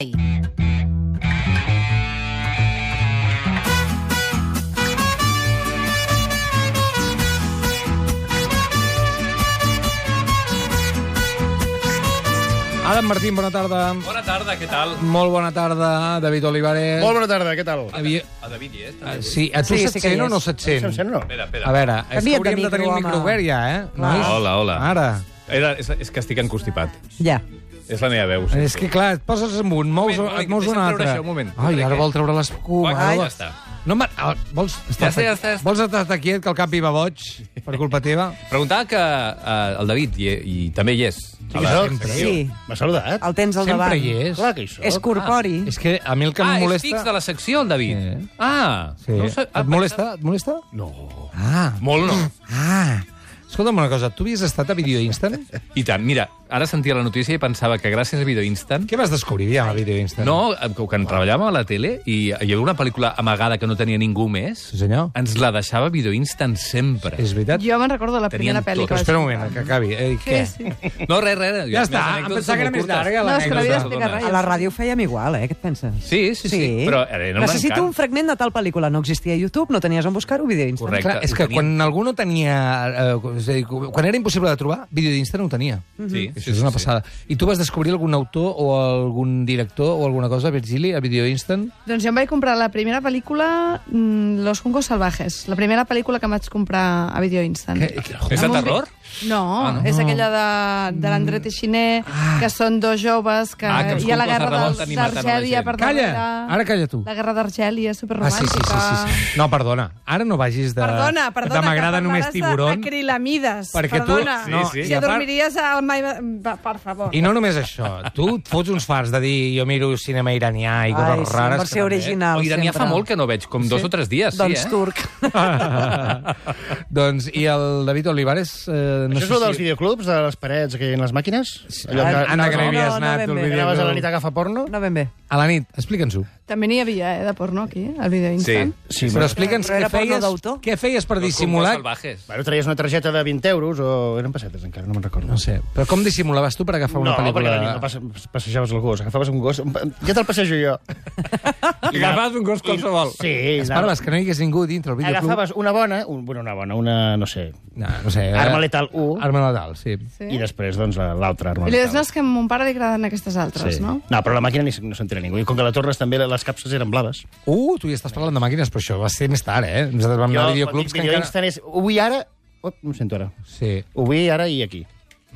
ahir Adam Martín, bona tarda. Bona tarda, què tal? Molt bona tarda, David Olivares. Molt bona tarda, què tal? Havia... A David hi és, Ah, també. Sí, a tu Sí, se't sí que hi sent o és. no se't sent? Se'm sent o no? Espera, espera. Ah, A veure, és que Canvia't de hauríem de micro, tenir el home. micro obert ja, eh? Nois? Hola, hola. Ara. Era, és, és que estic encostipat. Ja. És la meva veu. Sí. És que, clar, et poses amb un, mous, Moment, moment, et mous un deixa'm treure altre. això, un moment. Ai, ara Què? vol treure l'escuma. Ai, ara ja vol- està. No, ma... ah, vols, estar, està, ja està, ja està. vols estar quiet, que el cap hi va boig, per culpa teva? Preguntava que eh, el David hi, hi, també hi és. Sí, A que la sóc. secció. Sí, M'ha saludat? el tens al Sempre davant. hi és. Clar que hi sóc. És corpori. És que a mi el que Ah, em és molesta... fix de la secció, el David. Sí. Ah, Sí. no ho sab- ah, Et molesta? Et molesta? No. Ah, Molt no. ah. Escolta'm una cosa, tu havies estat a Video Instant? I tant, mira, ara sentia la notícia i pensava que gràcies a Video Instant... Què vas descobrir ja a Video Instant? No, eh, que quan treballàvem a la tele i hi havia una pel·lícula amagada que no tenia ningú més, Sí, senyor. ens la deixava Video Instant sempre. És veritat? Jo me'n recordo la Tenien primera pel·li tot. Però que vaig espera un moment, que acabi. Ei, què? Sí, sí. No, res, res. Ja està, em pensava que era més llarga No, és que l'havia l'anècdota. d'explicar A res. la ràdio ho fèiem igual, eh? Què et penses? Sí, sí, sí, però eh, era un Necessito encant. un fragment de tal pel·lícula. No existia a YouTube, no tenies on buscar-ho, vídeo Instagram. Correcte. Clar, és ho que tenien. quan algú no tenia... Eh, és a dir, quan era impossible de trobar, vídeo d'Insta no ho tenia. Sí, Això és una passada. I tu vas descobrir algun autor o algun director o alguna cosa, Virgili, a Video Instant? Doncs jo em vaig comprar la primera pel·lícula mm, Los Juncos Salvajes, la primera pel·lícula que em vaig comprar a Video Eh, Instant. Que- que- És de Amb un vi- terror? No, ah, no, és aquella de, de l'André Teixiner, Ah. que són dos joves que... Ah, que els hi ha la Juncos guerra de revolta dels- ni maten a la d'Argèlia gent. per Calla! darrere. Ara calla tu. La guerra d'Argèlia, Ah, sí, superromàntica. sí, sí, sí. No, perdona. Ara no vagis de... Perdona, perdona. De m'agrada només tiburon. Acrilamides. Perquè tu- perdona. Sí, sí. I Si a part- dormiries al... mai- va, Per favor. I no només això. Tu et fots uns fars de dir jo miro cinema iranià i Ai, coses sí, rares. versió que també- eh?" original. O iranià sempre. fa molt que no veig, com dos o tres dies, sí, Doncs eh? turc. doncs, i el David Olivares... Eh, no Això és sé el dels si... videoclubs, de les parets que hi ha en les màquines? Anna, Anna no, que no, n'havies no, anat ben al no, bé. videoclub. anaves a la nit a agafar porno? No ben bé. A la nit, explica'ns-ho. També n'hi havia, eh, de porno, aquí, al vídeo instant. Sí, però bueno. explica'ns Però què era porno feies, d'autor? què feies per Los dissimular... Juncos salvajes. Bueno, traies una targeta de 20 euros o... Eren pessetes encara, no me'n recordo. No sé, però com dissimulaves tu per agafar una no, pel·lícula? perquè la nit no passe, passejaves el gos, agafaves un gos... Ja te'l passejo jo. I agafaves un gos qualsevol. Sí, anava- Esperaves que no hi hagués ningú dintre el videoclub? agafaves una bona... Un, bueno, una bona, una... no sé... No, no sé. eh? Arma letal 1 Arma letal, sí. Sí. i després, doncs, la- l'altra arma I li dius, no, letal. és que a mon pare li agraden aquestes altres, Sí. no? no, però la màquina ni, no s'entera ningú. I com que la tornes també, les capses eren blaves. Uh, tu ja estàs parlant de màquines, però això va ser més tard, eh? Nosaltres vam anar a videoclubs que vídeo encara... instant és... Ho vull ara... Op, em sento ara. Sí, Ho vull ara i aquí.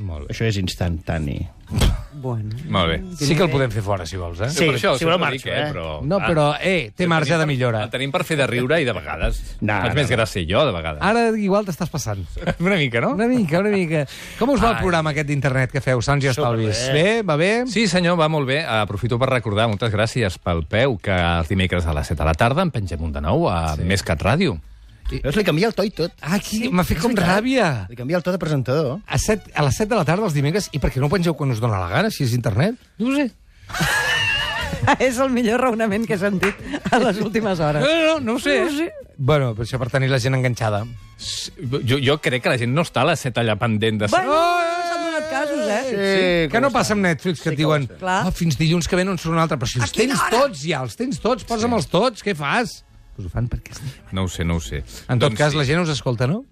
molt bé. Això és instantani. Bueno. Molt bé. Sí que el podem fer fora, si vols, eh? Sí, Per això, si voleu sempre ho dic, marxo, eh? Però, No, clar, però, eh, té el marge tenim de per- millora. El tenim per fer de riure i de vegades No, faig no, més no. gràcia jo, de vegades. Ara igual t'estàs passant. Una mica, no? Una mica, una mica. Com us va el programa aquest d'internet que feu, Sants i Estalvis? Bé, va bé? Sí, senyor, va molt bé. Aprofito per recordar, moltes gràcies pel peu, que els dimecres a les 7 de la tarda en pengem un de nou a sí. Més Cat Ràdio. Veus, li canvia el to i tot. Ah, aquí m'ha fet com ràbia. Li canvia el to de presentador. A, set, a les 7 de la tarda, els dimecres, i per què no ho pengeu quan us dona la gana, si és internet? No ho sé. És el millor raonament que he sentit a les últimes No, hores. no, no ho sé. No ho sé. Bueno, però això per tenir la gent enganxada. Jo, jo crec que la gent no està a les 7 allà pendent de... Bueno, s'han donat casos, eh? Sí, que no passa amb Netflix, que et diuen Clar. ah, fins dilluns que ve no en surt un altre. Però si els tens tots ja, els tens tots, posa'm-els tots, què fas? Pues ho fan perquè... sí. No ho sé, no ho sé. En tot Doncs cas, sí. la gent us escolta, no?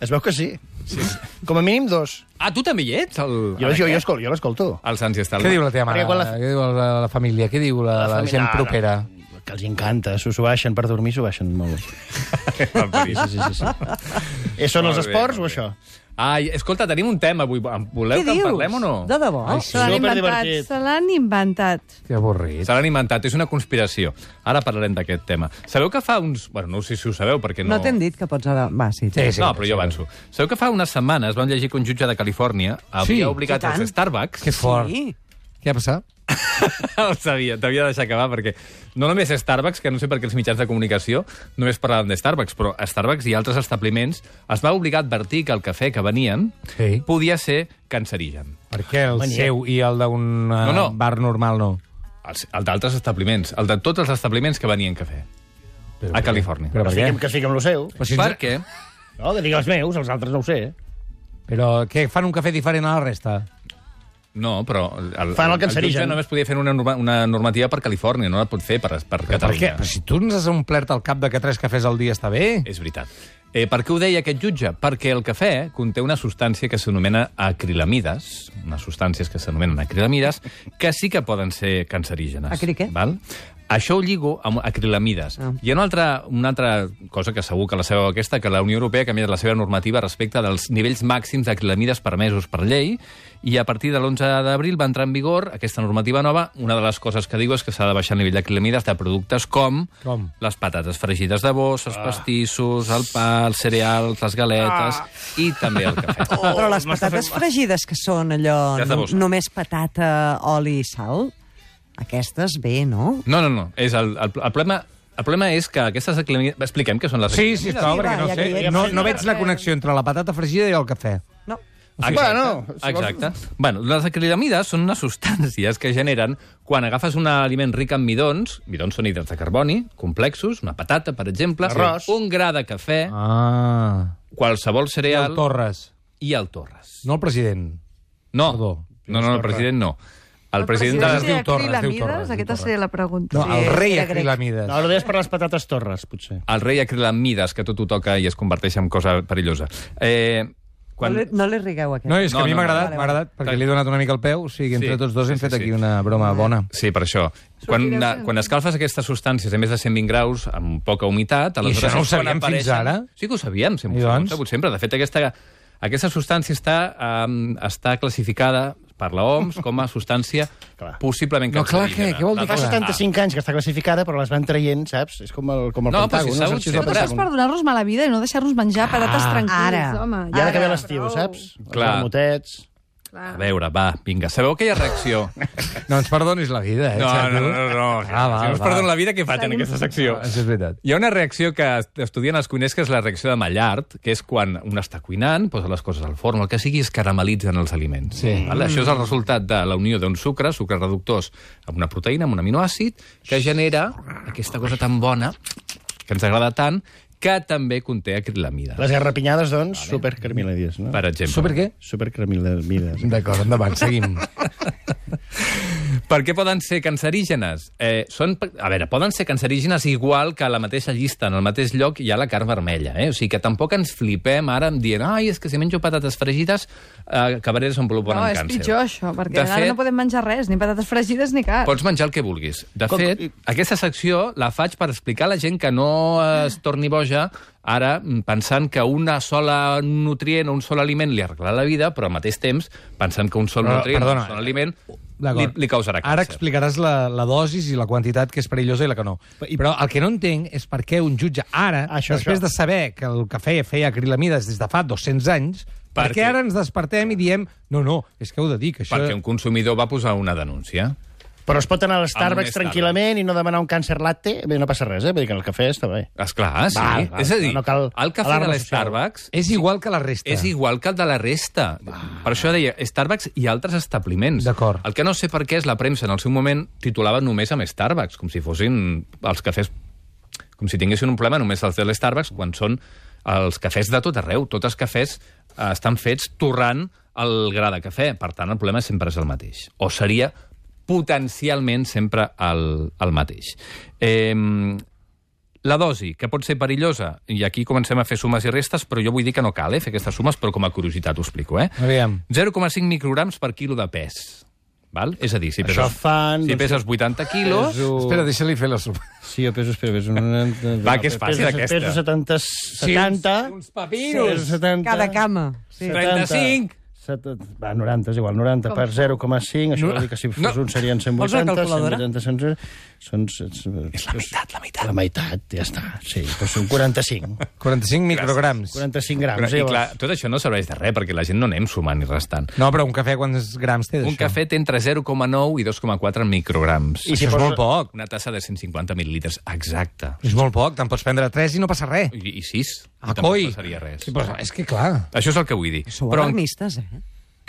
Es veu que sí. sí. Com a mínim dos. Ah, tu també hi ets? El... Jo, jo, jo, escol, jo l'escolto. El Sants i Estalvi. Què diu la teva mare? Perquè quan La... la- Què diu la, la família? Què diu la, la, família- gent no, no. propera? Que els encanta, s'ho s'ho baixen per dormir, s'ho baixen molt. El Sí, París. sí, sí. sí. eh, són els Molt bé, esports molt o bé. això? Ai, escolta, tenim un tema avui. Voleu Què que en dius? parlem o no? De debò? Ai, Se l'han inventat, Superdivertit. se l'han inventat. Que avorrit. Se l'han inventat, és una conspiració. Ara parlarem d'aquest tema. Sabeu que fa uns... Bueno, no sé si ho sabeu, perquè no... No t'hem dit que pots... ara- Va, sí. Sí, sí, no, però jo avanço. Sabeu que fa unes setmanes vam llegir que un jutge de Califòrnia havia Sí, obligat i tant. els Starbucks... Que fort. Sí. Què ha passat? El sabia, t'havia de deixar acabar, perquè no només Starbucks, que no sé per què els mitjans de comunicació només parlaven de Starbucks, però a Starbucks i altres establiments es va obligar a advertir que el cafè que venien Sí. podia ser cancerigen. Perquè el Maniac. seu i el d'un eh, No, no. bar normal no. Els- El d'altres establiments, el de tots els establiments que venien cafè Però, a Califòrnia. Però, per Que es què? fiqui- Que es fiqui amb el seu. Però, si Per ens... què? No, que digui els meus, els altres no ho sé. però què, fan un cafè diferent a la resta? No, però el, Fan el el jutge cancerigen. només podia fer una, norma, una normativa per Califòrnia, no la pot fer per, per Per què? Catalunya. Però si tu ens has omplert el cap de que tres cafès al dia està bé... És veritat. Eh, per què ho deia aquest jutge? Perquè el cafè conté una substància que s'anomena acrilamides, unes substàncies que s'anomenen acrilamides, que sí que poden ser cancerígenes. Acri què? Val? Això ho lligo amb acrilamides. Ah. Ah. Hi ha una altra, una altra cosa que segur que la sabeu aquesta, que la Unió Europea ha canviat la seva normativa respecte dels nivells màxims d'acrilamides permesos per llei, i a partir de l'11 d'abril va entrar en vigor aquesta normativa nova. Una de les coses que diu és que s'ha de baixar el nivell d'acrilamides de productes com, Com? les patates fregides de bosc, els pastissos, el pa, els cereals, les galetes i també el cafè. Oh, Però les patates fregides, que són allò... Ja és de no- bossa. només patata, oli i sal, aquestes bé, no? No, no, no. És el, el, el, problema, el problema és que aquestes acrilamides... Expliquem què són les Sí, sí, acrilamides. està, Sí, perquè va, no ja que hi sé. ets. No, no veig la connexió entre la patata fregida i el cafè. No. Bueno, si vols- exacte. Bueno, les acrilamides són unes substàncies que generen quan agafes un aliment ric en midons, midons són hidrats de carboni, complexos, una patata, per exemple, Arròs. un gra de cafè, Ah. qualsevol I el cereal Torres, i el Torres. no el president. No, Perdó. no, no, el president no. El, president, president de... es diu Torra, es diu Acrilamides? Torra, es diu Aquesta Torra. seria la pregunta. No, Sí, el rei era grec. Acrilamides. No, ara ho deies per les patates torres, potser. El rei acrilamides, que tot ho toca i es converteix en cosa perillosa. Eh, quan... Quan... No, li, no li rigueu, aquest. No, és que No, a mi no, m'ha no. agradat, Vale, m'ha agradat, perquè li he donat una mica el peu, o sigui, entre Sí, tots dos hem sí, fet sí, aquí sí. una broma bona. Sí, per això. Quan, Sortirà eh, sent. quan escalfes aquestes substàncies a més de 120 graus, amb poca humitat... I això aleshores no ho és quan sabíem fins ara? Sí que ho sabíem, sempre. I ho doncs? sabíem, ho sabíem sempre. De fet, aquesta, aquesta substància està, um, està classificada per la OMS com a substància Clar. possiblement No, clar, què? cancerígena. Què vol dir La- Fa clar? 75 anys que està classificada, però les van traient, saps? És com el, com el No, però Pentàgon. si s'ha saps? hagut va sempre. Però passar és un- per donar-nos mala vida i no deixar-nos menjar ah, patates tranquils, ara. home. I ara que ve Ara, l'estiu, prou. saps? Els Clar. vermutets... Clar. A veure, va, vinga, sabeu aquella reacció? No ens perdonis la vida, eh? Xavi? Ah, va, si us va. perdono la vida, què faig en aquesta secció? Això és veritat. Hi ha una reacció que est- estudien els cuiners, que és la reacció de Maillard, que és quan un està cuinant, posa les coses al forn, el que sigui, es caramelitzen els aliments. Sí. Val? Això és el resultat de la unió d'un sucre, sucres reductors, amb una proteïna, amb un aminoàcid, que genera aquesta cosa tan bona, que ens agrada tant, que també conté acrilamida, Les garrapinyades, doncs, supercremiladies, no? per exemple. Super què? Supercremiladies. D'acord, endavant, seguim. Per què poden ser cancerígenes? Eh, són, a veure, poden ser cancerígenes igual que a la mateixa llista, en el mateix lloc hi ha la carn vermella. Eh? O sigui que tampoc ens flipem ara amb dient ai, és que si menjo patates fregides eh, acabaré desenvolupant No, un és càncer. pitjor això, eh. perquè De ara fet, no podem menjar res, ni patates fregides ni carn. Pots menjar el que vulguis. De Com- fet, aquesta secció la faig per explicar a la gent que no eh, es torni boja ara mm, pensant que una sola nutrient o un sol aliment li arreglarà la vida, però al mateix temps pensant que un sol Però, nutrient o perdona, un sol aliment li, D'acord. li causarà càncer. Ara explicaràs la, la dosis i la quantitat que és perillosa i la que no. Però el que no entenc és per què un jutge ara, Això, després això. de saber que el cafè feia acrilamides des de fa 200 anys, per, Perquè- què ara ens despertem i diem no, no, és que heu de dir que això... Perquè un consumidor va posar una denúncia. Però es pot anar a l'Starbucks Starbucks. tranquil·lament i no demanar un càncer latte? Bé, no passa res, eh? Vull dir que el cafè està bé. Esclar, sí. Val, val, és a dir, no cal el cafè de alarma social. l'Starbucks És igual que la resta. és igual que el de la resta. Per això deia Starbucks i altres establiments. D'acord. El que no sé per què és la premsa en el seu moment titulava només amb Starbucks, com si fossin els cafès... Com si tinguessin un problema només els de l'Starbucks quan són els cafès de tot arreu. Tots els cafès eh, estan fets torrant el gra de cafè. Per tant, el problema sempre és el mateix. O seria potencialment sempre el, el mateix. Eh, la dosi, que pot ser perillosa, i aquí comencem a fer sumes i restes, però jo vull dir que no cal eh, fer aquestes sumes, però com a curiositat ho explico. Eh? Aviam. 0,5 micrograms per quilo de pes. Val? És a dir, si Això peses, fan... doncs, si peses 80 quilos... Espera, deixa-li fer la suma. Sí, jo peso, espera, peso... Una... Va, que és fàcil, peso, aquesta. Peso 70... 70... uns papiros. Peso 70... Cada cama. Sí. 35. 70, va, 90 és igual, 90 per 0,5, això vol dir que si fos no. un serien Vols una 180, calculadora? 180, 180, són... És la meitat, la meitat. La meitat, ja està, sí, però són 45. 45 micrograms. 45 Però, grams, I clar, llavors. tot això no serveix de res, perquè la gent no anem sumant i restant. No, però un cafè quants grams té d'això? Un cafè té entre 0,9 i 2,4 micrograms. I si Això és posa- molt poc. Una tassa de 150 mil·lilitres, exacte. És molt poc, te'n pots prendre 3 i no passa res. I, i 6. Ah, tampoc coi. passaria res. Sí, però és que clar... Això és el que vull dir. Sou Però en alarmistes, eh?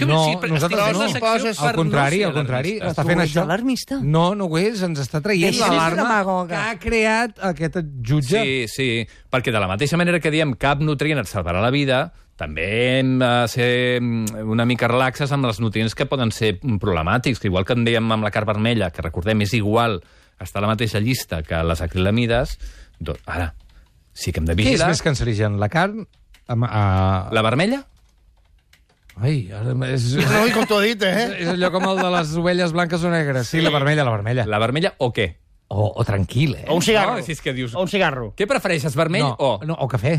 Que no, sí, però nosaltres estic no. fent una secció Al per contrari, no ser al contrari. alarmista. Està Tu fent ets això... alarmista? No, no ho és, ens està traient Deixa de ser l'alarma demagoga. que ha creat aquest jutge. Sí, sí, perquè de la mateixa manera que diem cap nutrient et salvarà la vida, també hem de ser mm, una mica relaxes amb els nutrients que poden ser mm, problemàtics, que igual que en dèiem amb la carn vermella, que recordem és igual, està a la mateixa llista que les acrilamides, doncs ara sí que hem de Què és vigilar. més cancerigen? La carn? Amb, a... La vermella? Ai, ara és... No, i com t'ho he dit, eh? És allò com el de les ovelles blanques o negres. Sí, la vermella, la vermella. La vermella o què? O, o tranquil, eh? O un cigarro. No, si és que dius- O un cigarro. Què prefereixes, vermell no, o... No, o cafè.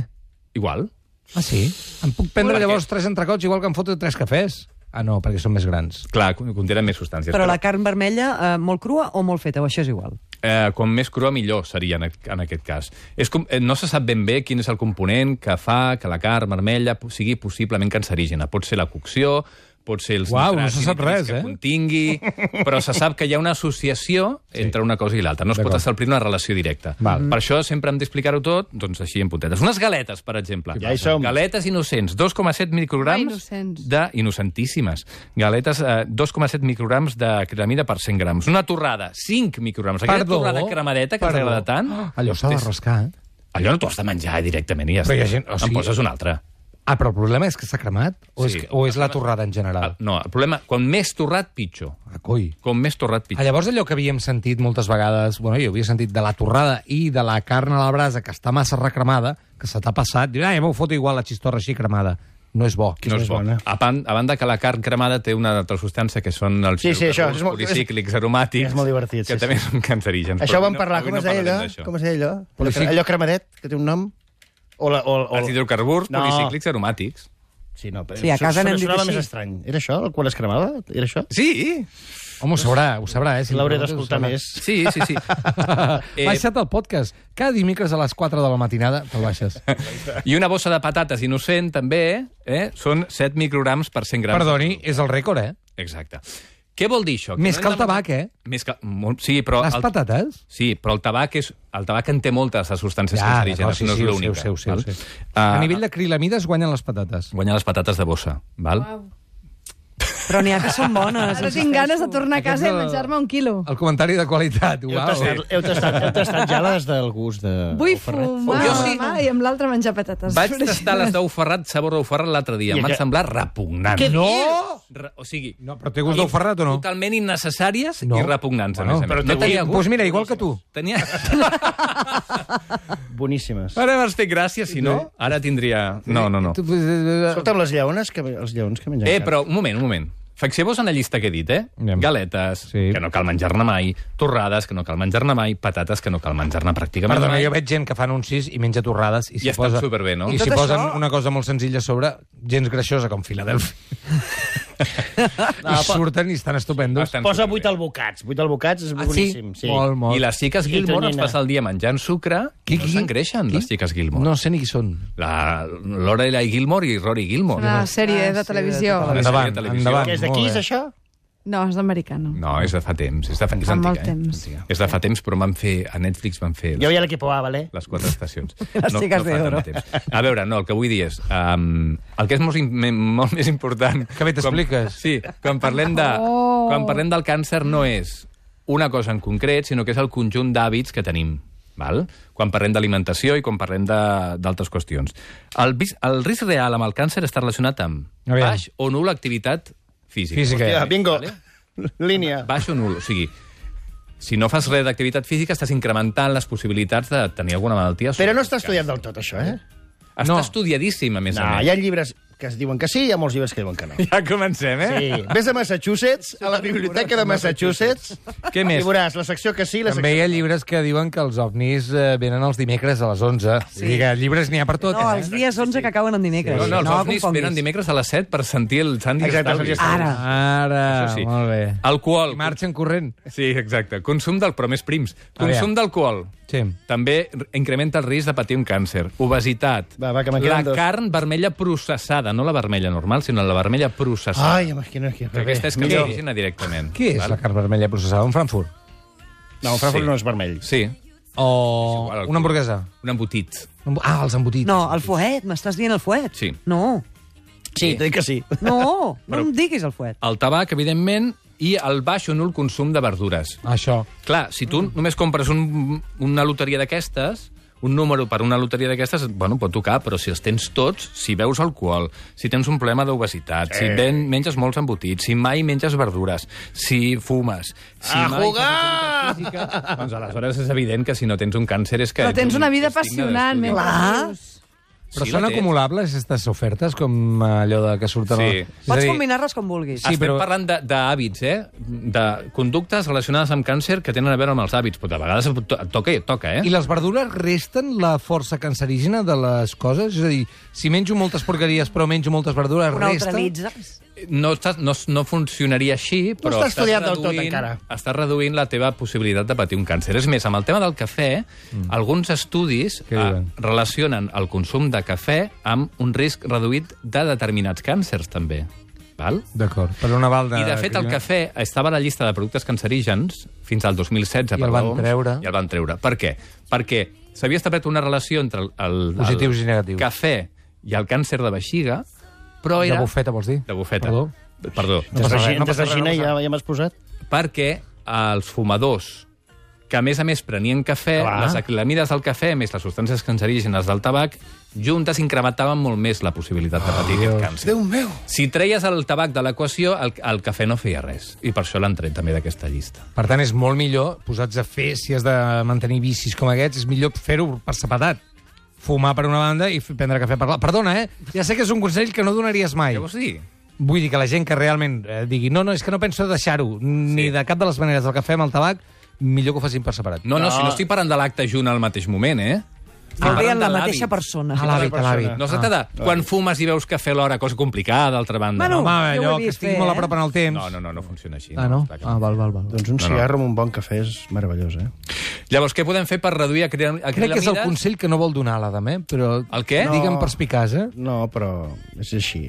Igual. Ah, sí? Em puc prendre Per què? llavors tres entrecots igual que em foto tres cafès? Ah, no, perquè són més grans. Clar, contenen més substàncies. Però la carn vermella, eh, molt crua o molt feta, o això és igual. Eh, com més crua, millor seria en, ac- en aquest cas. És com, eh, no se sap ben bé quin és el component que fa que la carn vermella po- sigui possiblement cancerígena. Pot ser la cocció, pot ser els Uau, no nitrats se i sap nitrits res, que eh? contingui, però se sap que hi ha una associació sí. entre una cosa i l'altra. No es pot D'acord. establir una relació directa. Val. Per això sempre hem d'explicar-ho tot doncs, així en puntetes. Unes galetes, per exemple. Ja hi som. Galetes innocents, 2,7 Ah, micrograms innocents. de innocentíssimes. Galetes, eh, 2,7 micrograms de crelamida per 100 grams. Una torrada, 5 micrograms. Aquella Perdó? torrada cremadeta que ens Perdó. agrada tant... Ah, Allò s'ha de és- rascar, eh? Allò no t'ho has de menjar eh, directament i ja Però hi està. ha gent- o sigui- En poses una altra. Ah, però el problema és que s'ha cremat? O, Sí. Ah. és, que- o és la torrada en general? No, el problema, quan més torrat, pitjor. Ah, coi. Com més torrat, Ah, pitjor. llavors allò que havíem sentit moltes vegades, bueno, jo havia sentit de la torrada i de la carn a la brasa, que està massa recremada, que se t'ha passat, dius, ah, ja m'ho foto igual la xistorra així cremada. No és bo. No és és bo. bona. A, pan, a banda que la carn cremada té una altra substància que són els Sí, sí, això, és molt- policíclics aromàtics, és molt divertit, que sí, també són cancerígens. Això ho Però avui vam no- parlar, avui com no es deia parlarem allò? d'això. Com es deia allò? Policic- Allò cremadet, que té un nom? O la, o, o... Els hidrocarburs, Oh. No. policíclics aromàtics. Sí, no, però Sí, a casa sona- n'hem dit sonava així. més estrany. Era això, el quan es cremava? Era això? Sí, Home, ho sabrà, ho sabrà, eh? Si L'hauré li preguntes, ho d'escoltar sabrà. més. sí, sí, sí. Eh... Baixa't el podcast. Cada dimecres a les 4 de la matinada te'l baixes. Doncs- I una bossa de patates innocent, també, eh? són 7 micrograms per 100 grams. Perdoni, és el rècord, eh? Exacte. Què vol dir això? Més no que el hem de- tabac, eh? Més que... molt- Sí, però... Les el... patates? Sí, però el tabac, és... el tabac en té moltes, les substàncies Ja, cancerígenes, d'acord, sí, no sí, és ho l'única. sé, ho sé, ho val? sé, ho sé. Ah, A nivell de crilamida es guanyen les patates. Guanyar les patates de bossa, val? Wow. Però n'hi ha que són bones. eh, Ara tinc ganes de tornar a casa i Aquest no- Ah, menjar-me un quilo. El comentari de qualitat, Heu uau. tastat, heu, tastat, heu tastat ja les del gust de... Vull del Ferret? fumar Jo amb sí. la mà i amb l'altra menjar patates. Vaig tastar les d'ou ferrat, sabor d'ou ferrat, l'altre dia. Em I van aquella- semblar repugnants. Què No! Re- O sigui, No, però té gust d'ou ferrat o no? totalment innecessàries No. i repugnants, a Bueno, més a més. però té gust. Doncs mira, igual que tu. Tenia... Boníssimes. Ara m'has fet gràcia, si no, ara tindria... No, no, no. Tu- eh, eh, Escolta'm, les lleones que, els lleons que mengen Eh, carn. però un moment, un moment. Fixeu-vos en la llista que he dit, eh? Anem. Galetes, Sí. que no cal menjar-ne mai, torrades, que no cal menjar-ne mai, patates, que no cal menjar-ne pràcticament Perdona, mai. jo veig gent que fan anuncis i menja torrades i, eh. I estan superbé, no? I, I s'hi tot posen això- una cosa molt senzilla a sobre, gens greixosa com Filadelfia. I surten i estan estupendos. Estan Posa superbé. 8 albocats. 8 albocats és boníssim. Ah, Sí? Molt, molt. I les xiques I Gilmore es tonyina. passa el dia menjant sucre i Qui- no qui? s'engreixen, Qui? les xiques Gilmore. No sé ni qui són. La Lorelai Gilmore i Rory Gilmore. Una sèrie de televisió. Una sèrie de Endavant, televisió. endavant. Que és d'aquí, és això? No, és americano. No, és de fa temps. És de fa, és Fa antica, molt temps. eh? És de fa temps, però van fer, a Netflix van fer Jo veia l'equip A, vale? les quatre estacions. Les ciques fa tant d'oro. de temps. A veure, no, el que vull dir és... Um, el que és molt, im- me- molt més important... Que bé quan- t'expliques. Sí, quan parlem, de, Oh. quan parlem del càncer no és una cosa en concret, sinó que és el conjunt d'hàbits que tenim. Val? quan parlem d'alimentació i quan parlem de- d'altres qüestions. El, vis- el risc real amb el càncer està relacionat amb Aviam. baix o nul activitat física. Física. Ja, bingo. Vale. Línia. Baix o nul, o sigui, si no fas res d'activitat física, estàs incrementant les possibilitats de tenir alguna malaltia. Però sobretot no està càncer. estudiat del tot, això, eh? Està No. no. estudiadíssim, a més No, a més. hi ha llibres que es diuen que sí i hi ha molts llibres que diuen que no. ja comencem, eh? Sí. Ves a Massachusetts, a la biblioteca de Massachusetts, Què més? i veuràs la secció que sí i la També secció... hi ha llibres que diuen que els ovnis eh, venen els dimecres a les 11. Sí. Vull dir que llibres n'hi ha per tot, No, eh? els dies 11 que acaben en dimecres. No, no, els ovnis confonguis. venen dimecres a les 7 per sentir el Sandy Exacte, Estalvi. el Sandy Estalvi. Ah, Ah, Ara. Ara, Això sí. molt bé. Alcohol. I marxen corrent. Sí, exacte. Consum del... Però més prims. Aviam. Consum d'alcohol. Sí. També r- incrementa el risc de patir un càncer. Obesitat. Va, va, que me'n la queden dos. carn vermella processada, no la vermella normal, sinó la vermella processada. Ai, imagina Ah, que... que aquesta és Millor. cancerígena directament. Què és la carn vermella processada? Un Frankfurt? No, Frankfurt Sí. no és vermell. Sí, O igual, el una cul. hamburguesa? un embotit. Un- Ah, els embotits. No, el fuet, m'estàs dient el fuet? Sí. No, Sí, t'ho dic que sí. no, no em diguis el fuet. El tabac, evidentment, i el baix o nul consum de verdures. Això. Mm. Clar, si tu només compres un, una loteria d'aquestes, un número per una loteria d'aquestes, bueno, pot tocar, però si els tens tots, si beus alcohol, si tens un problema d'obesitat, sí. si ben, menges molts embotits, si mai menges verdures, si fumes... Si A mai fas jugar! activitat Física, doncs aleshores és evident que si no tens un càncer és que... Però ets tens un- una vida ets digne apassionant, d'estudi. meu. Clar. Dios. Però Sí, són la tens. acumulables, aquestes ofertes, com eh, allò de que surten... Sí. a- És a Pots dir, combinar-les com vulguis. Sí, Sí, Estem però... però- parlant de- d'hàbits, eh? De conductes relacionades amb càncer que tenen a veure amb els hàbits, però de vegades et to- et toca i et toca, eh? I les verdures resten la força cancerígena de les coses? És a dir, si menjo moltes porqueries però menjo moltes verdures, Una resta... neutralitzes. No, estàs, no, no funcionaria així, però està estudiat del tot, encara. Estàs reduint la teva possibilitat de patir un càncer. És més, amb el tema del cafè, mm. alguns estudis Què eh, diuen? relacionen el consum de cafè amb un risc reduït de determinats càncers, també. Val? D'acord, per una balda... I, de fet, el cafè estava a la llista de productes cancerígens fins al 2016. I per el van l'OMS, treure. I el van treure. Per què? Perquè s'havia establert una relació entre el, el, Positius el i negatius. cafè i el càncer de vexiga, però De era... bufeta, vols dir? De bufeta. Perdó. Perdó. No passa res, Desvagina, no passa res, no desvagina, passa ja, ja m'has posat. Perquè els fumadors que, a més a més, prenien cafè, Clar. Clar. les acrilamides del cafè, més les substàncies cancerígenes del tabac, juntes incrementaven molt més la possibilitat de patir oh, aquest càncer. Déu meu! Si treies el tabac de l'equació, el, el cafè no feia res. I per això l'han tret també d'aquesta llista. Per tant, és molt millor, posats a fer, si has de mantenir vicis com aquests, és millor fer-ho per separat. Fumar per una banda i f- prendre cafè per l'altra. Perdona, eh? Ja sé que és un consell que no donaries mai. Què vols dir? Vull dir que la gent que realment eh, digui no, no, és que no penso deixar-ho, ni de cap de les maneres, el cafè amb el tabac, millor que ho facin per separat. No, no, si no estic parlant de l'acte junt al mateix moment, eh? Estic Ah. Al veien parlant la de mateixa l'hàbit. persona. A l'hàbit, a l'hàbit. No se trata de quan fumes i veus cafè a l'hora, cosa complicada, d'altra banda. Bueno, Home, Jo ho he allò que vist estic fer, molt eh? a prop en el temps. no, no, no, no funciona així. Ah, no? està clar. Ah, val, val, val. Doncs un cigarro amb un bon cafè és meravellós, eh? Llavors, què podem fer per reduir acri- Crec que és el acrilamides? consell que no vol donar l'Adam, eh? Però El què? No. digue'm perspicaç, eh? No, però és així.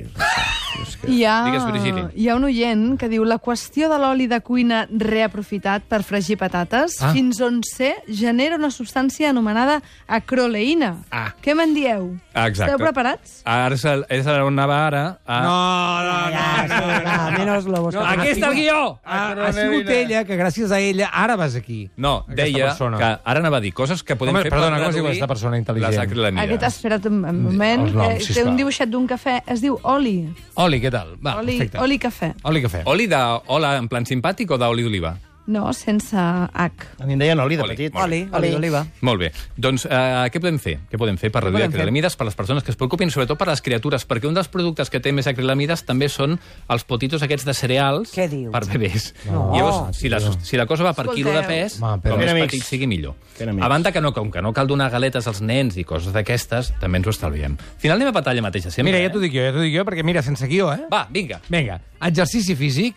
És que... Hi ha, Digues, Virgili. hi ha un oient que diu la qüestió de l'oli de cuina reaprofitat per fregir patates Ah. fins on sé genera una substància anomenada acroleïna. Ah. Què me'n dieu? Ah, exacte. Esteu preparats? Ara és, el, és on anava ara. A... Ah, no, Ja, sí, va, menos lobos. No, aquí està el guió! Ah, Ha, Ah, ha sigut ella, que gràcies a ella ara vas aquí. No, Aquesta deia persona. que ara anava a dir coses que podem Home, fer perdona, per com es diu reduir aquesta persona intel·ligent? les acrilamides. Aquest, espera't un un moment, Els noms, eh, té sisplau. un dibuixet d'un cafè, es diu oli. Oli, què tal? Ah, Va, Oli, perfecte. oli cafè. Oli cafè. Oli de... Hola, en plan simpàtic o d'oli d'oliva? No, sense H. A mi em deien oli de Oli, petit. molt Oli, oli d'oliva. Molt bé. Doncs eh, què podem fer? Què podem fer per reduir podem fer? acrilamides per les persones que es preocupin, sobretot per les criatures, perquè un dels productes que té més acrilamides també són els potitos aquests de cereals Què dius? per bebès. No. Ah, Llavors, si la, tio. si la cosa va per quilo de Escolteu. pes, Ma, però- com més Ben amics. petit sigui millor. Ben amics. A banda que no, com que no cal donar galetes als nens i coses d'aquestes, també ens ho estalviem. Final anem a batalla mateixa sempre. Mira, ja t'ho eh? dic jo, ja t'ho dic jo, perquè mira, sense guió, eh? Va, vinga. Vinga, exercici físic...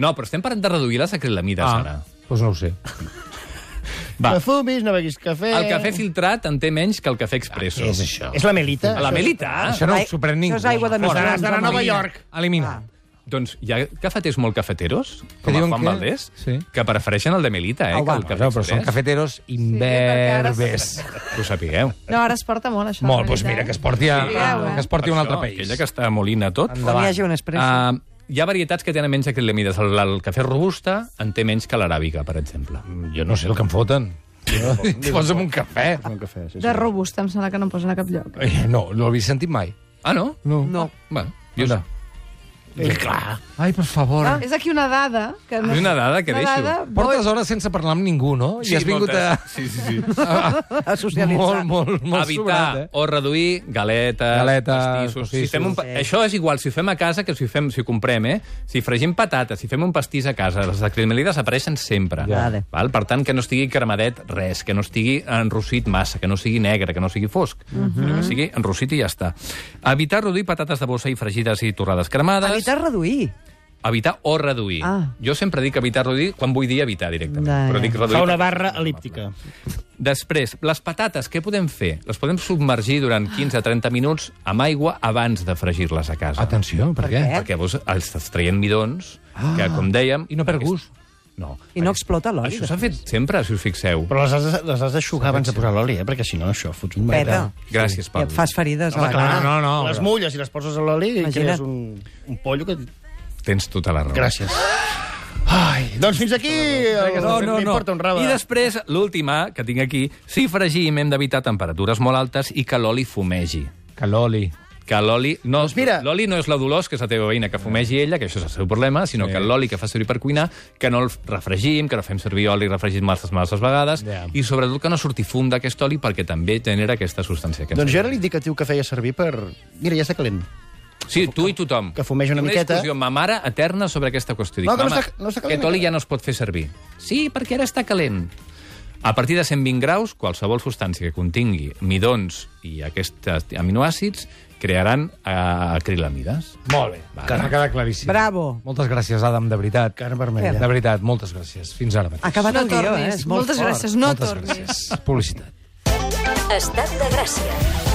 No, però estem parlant de reduir les acrilamides ara. doncs no ho sé. Va. No fumis, no beguis cafè... El cafè filtrat en té menys que el cafè expresso. Què Ah, és això? Ah, És la melita? A la melita? eh? Això no Ah, Ai, ho sorprèn ningú. això és aigua de Fora. microns, Seràs de Nova Elimina. York. Elimina. Doncs hi ha cafeters molt cafeteros, Ah. Que com a diuen Juan que- Valdés, sí. que prefereixen el de Melita, eh, Au, va. que el cafè Bueno, però són express. cafeteros perquè ara imberbes. Que ho sapigueu. No, ara es porta molt, això. Molt, la doncs mira, veritat. que es porti a, Digueu, eh? que es porti a un altre Això, país. Aquella que està molina Ah, tot. Com hi hagi un espresso. Uh, hi ha varietats que tenen menys acrilamides. El, el cafè robusta en té menys que l'aràbica, per exemple. Jo no sé el que em foten. Jo, Posa'm un cafè. Un cafè, sí, sí. De robusta, em sembla que no em posen a cap lloc. Eh, No, no l'havia sentit mai. Ah, no? No. No. Bueno, jo Anda. Eh, clar. Ai, per favor. Ah. És aquí una dada. Que no... És una dada que una deixo. dada Portes hores sense parlar amb ningú, no? I has vingut a... Sí, sí, sí. A Molt, socialitzar. molt, molt Evitar sobrat, eh? o reduir galetes, Galetes, pastissos... Si pastissos. fem un, pa- Això és igual si ho fem a casa que si ho, fem, si ho comprem, eh? Si fregim patates, si fem un pastís a casa, les acrilamides apareixen sempre. Ja. Vale. Val? Per tant, que no estigui cremadet res, que no estigui enrossit massa, que no sigui negre, que no sigui fosc, Mhm. que sigui enrossit i ja està. Evitar reduir patates de bossa i fregides i torrades cremades. Evitar reduir. Evitar o reduir. Ah. Jo sempre dic evitar reduir quan vull dir evitar directament. Ja, Però ja. dic reduir Fa una barra elíptica. Després, les patates, què podem fer? Les podem submergir durant 15-30 minuts amb aigua abans de fregir-les a casa. Atenció, per què? què? Perquè vos estàs traient midons, ah. que, com dèiem... I no perd aquest- gust. No. I no explota l'oli. Això s'ha fet sempre, si us fixeu. Però les has, de- les has d'aixugar abans de posar l'oli, eh? Perquè si no, això, fots un Peta. merda. Gràcies, I Pau. et fas ferides a la clar. cara. No, no, les però- mulles i les poses a l'oli i Imagina't. crees un, un pollo que... Tens tota la raó. Gràcies. Ai, Doncs fins aquí... El... M'importa un rave. I després, l'última que tinc aquí, si fregim hem d'evitar temperatures molt altes i que l'oli fumegi. Que l'oli. Que l'oli... No, Doncs mira- L'oli no és la Dolors, que és la teva veïna, que fumegi ella, que això és el seu problema, sinó sí. que l'oli que fa servir per cuinar, que no el refregim, que no fem servir oli refregit masses, masses vegades, Ja. i sobretot que no surti fum d'aquest oli perquè també genera aquesta substància. Que ens Doncs jo era l'indicatiu que feia servir per... Mira, ja està calent. Sí, tu i tothom. que fumeja una miqueta. Una discussió, ma mare, eterna sobre aquesta qüestió. Dic, No, que no "Mama, està- no està calent Aquest oli encara." ja no es pot fer servir. Sí, perquè ara està calent. A partir de 120 graus, qualsevol substància que contingui midons i aquests aminoàcids crearan eh, acrilamides. Molt bé. Vale. Que ha quedat claríssim. Bravo. Moltes gràcies, Adam, de veritat. Carn vermella. De veritat, moltes gràcies. Fins ara mateix. Ha acabat No el guió, eh? tornis. És molt Moltes fort. gràcies. No moltes tornis. gràcies. Publicitat. Estat de Gràcia.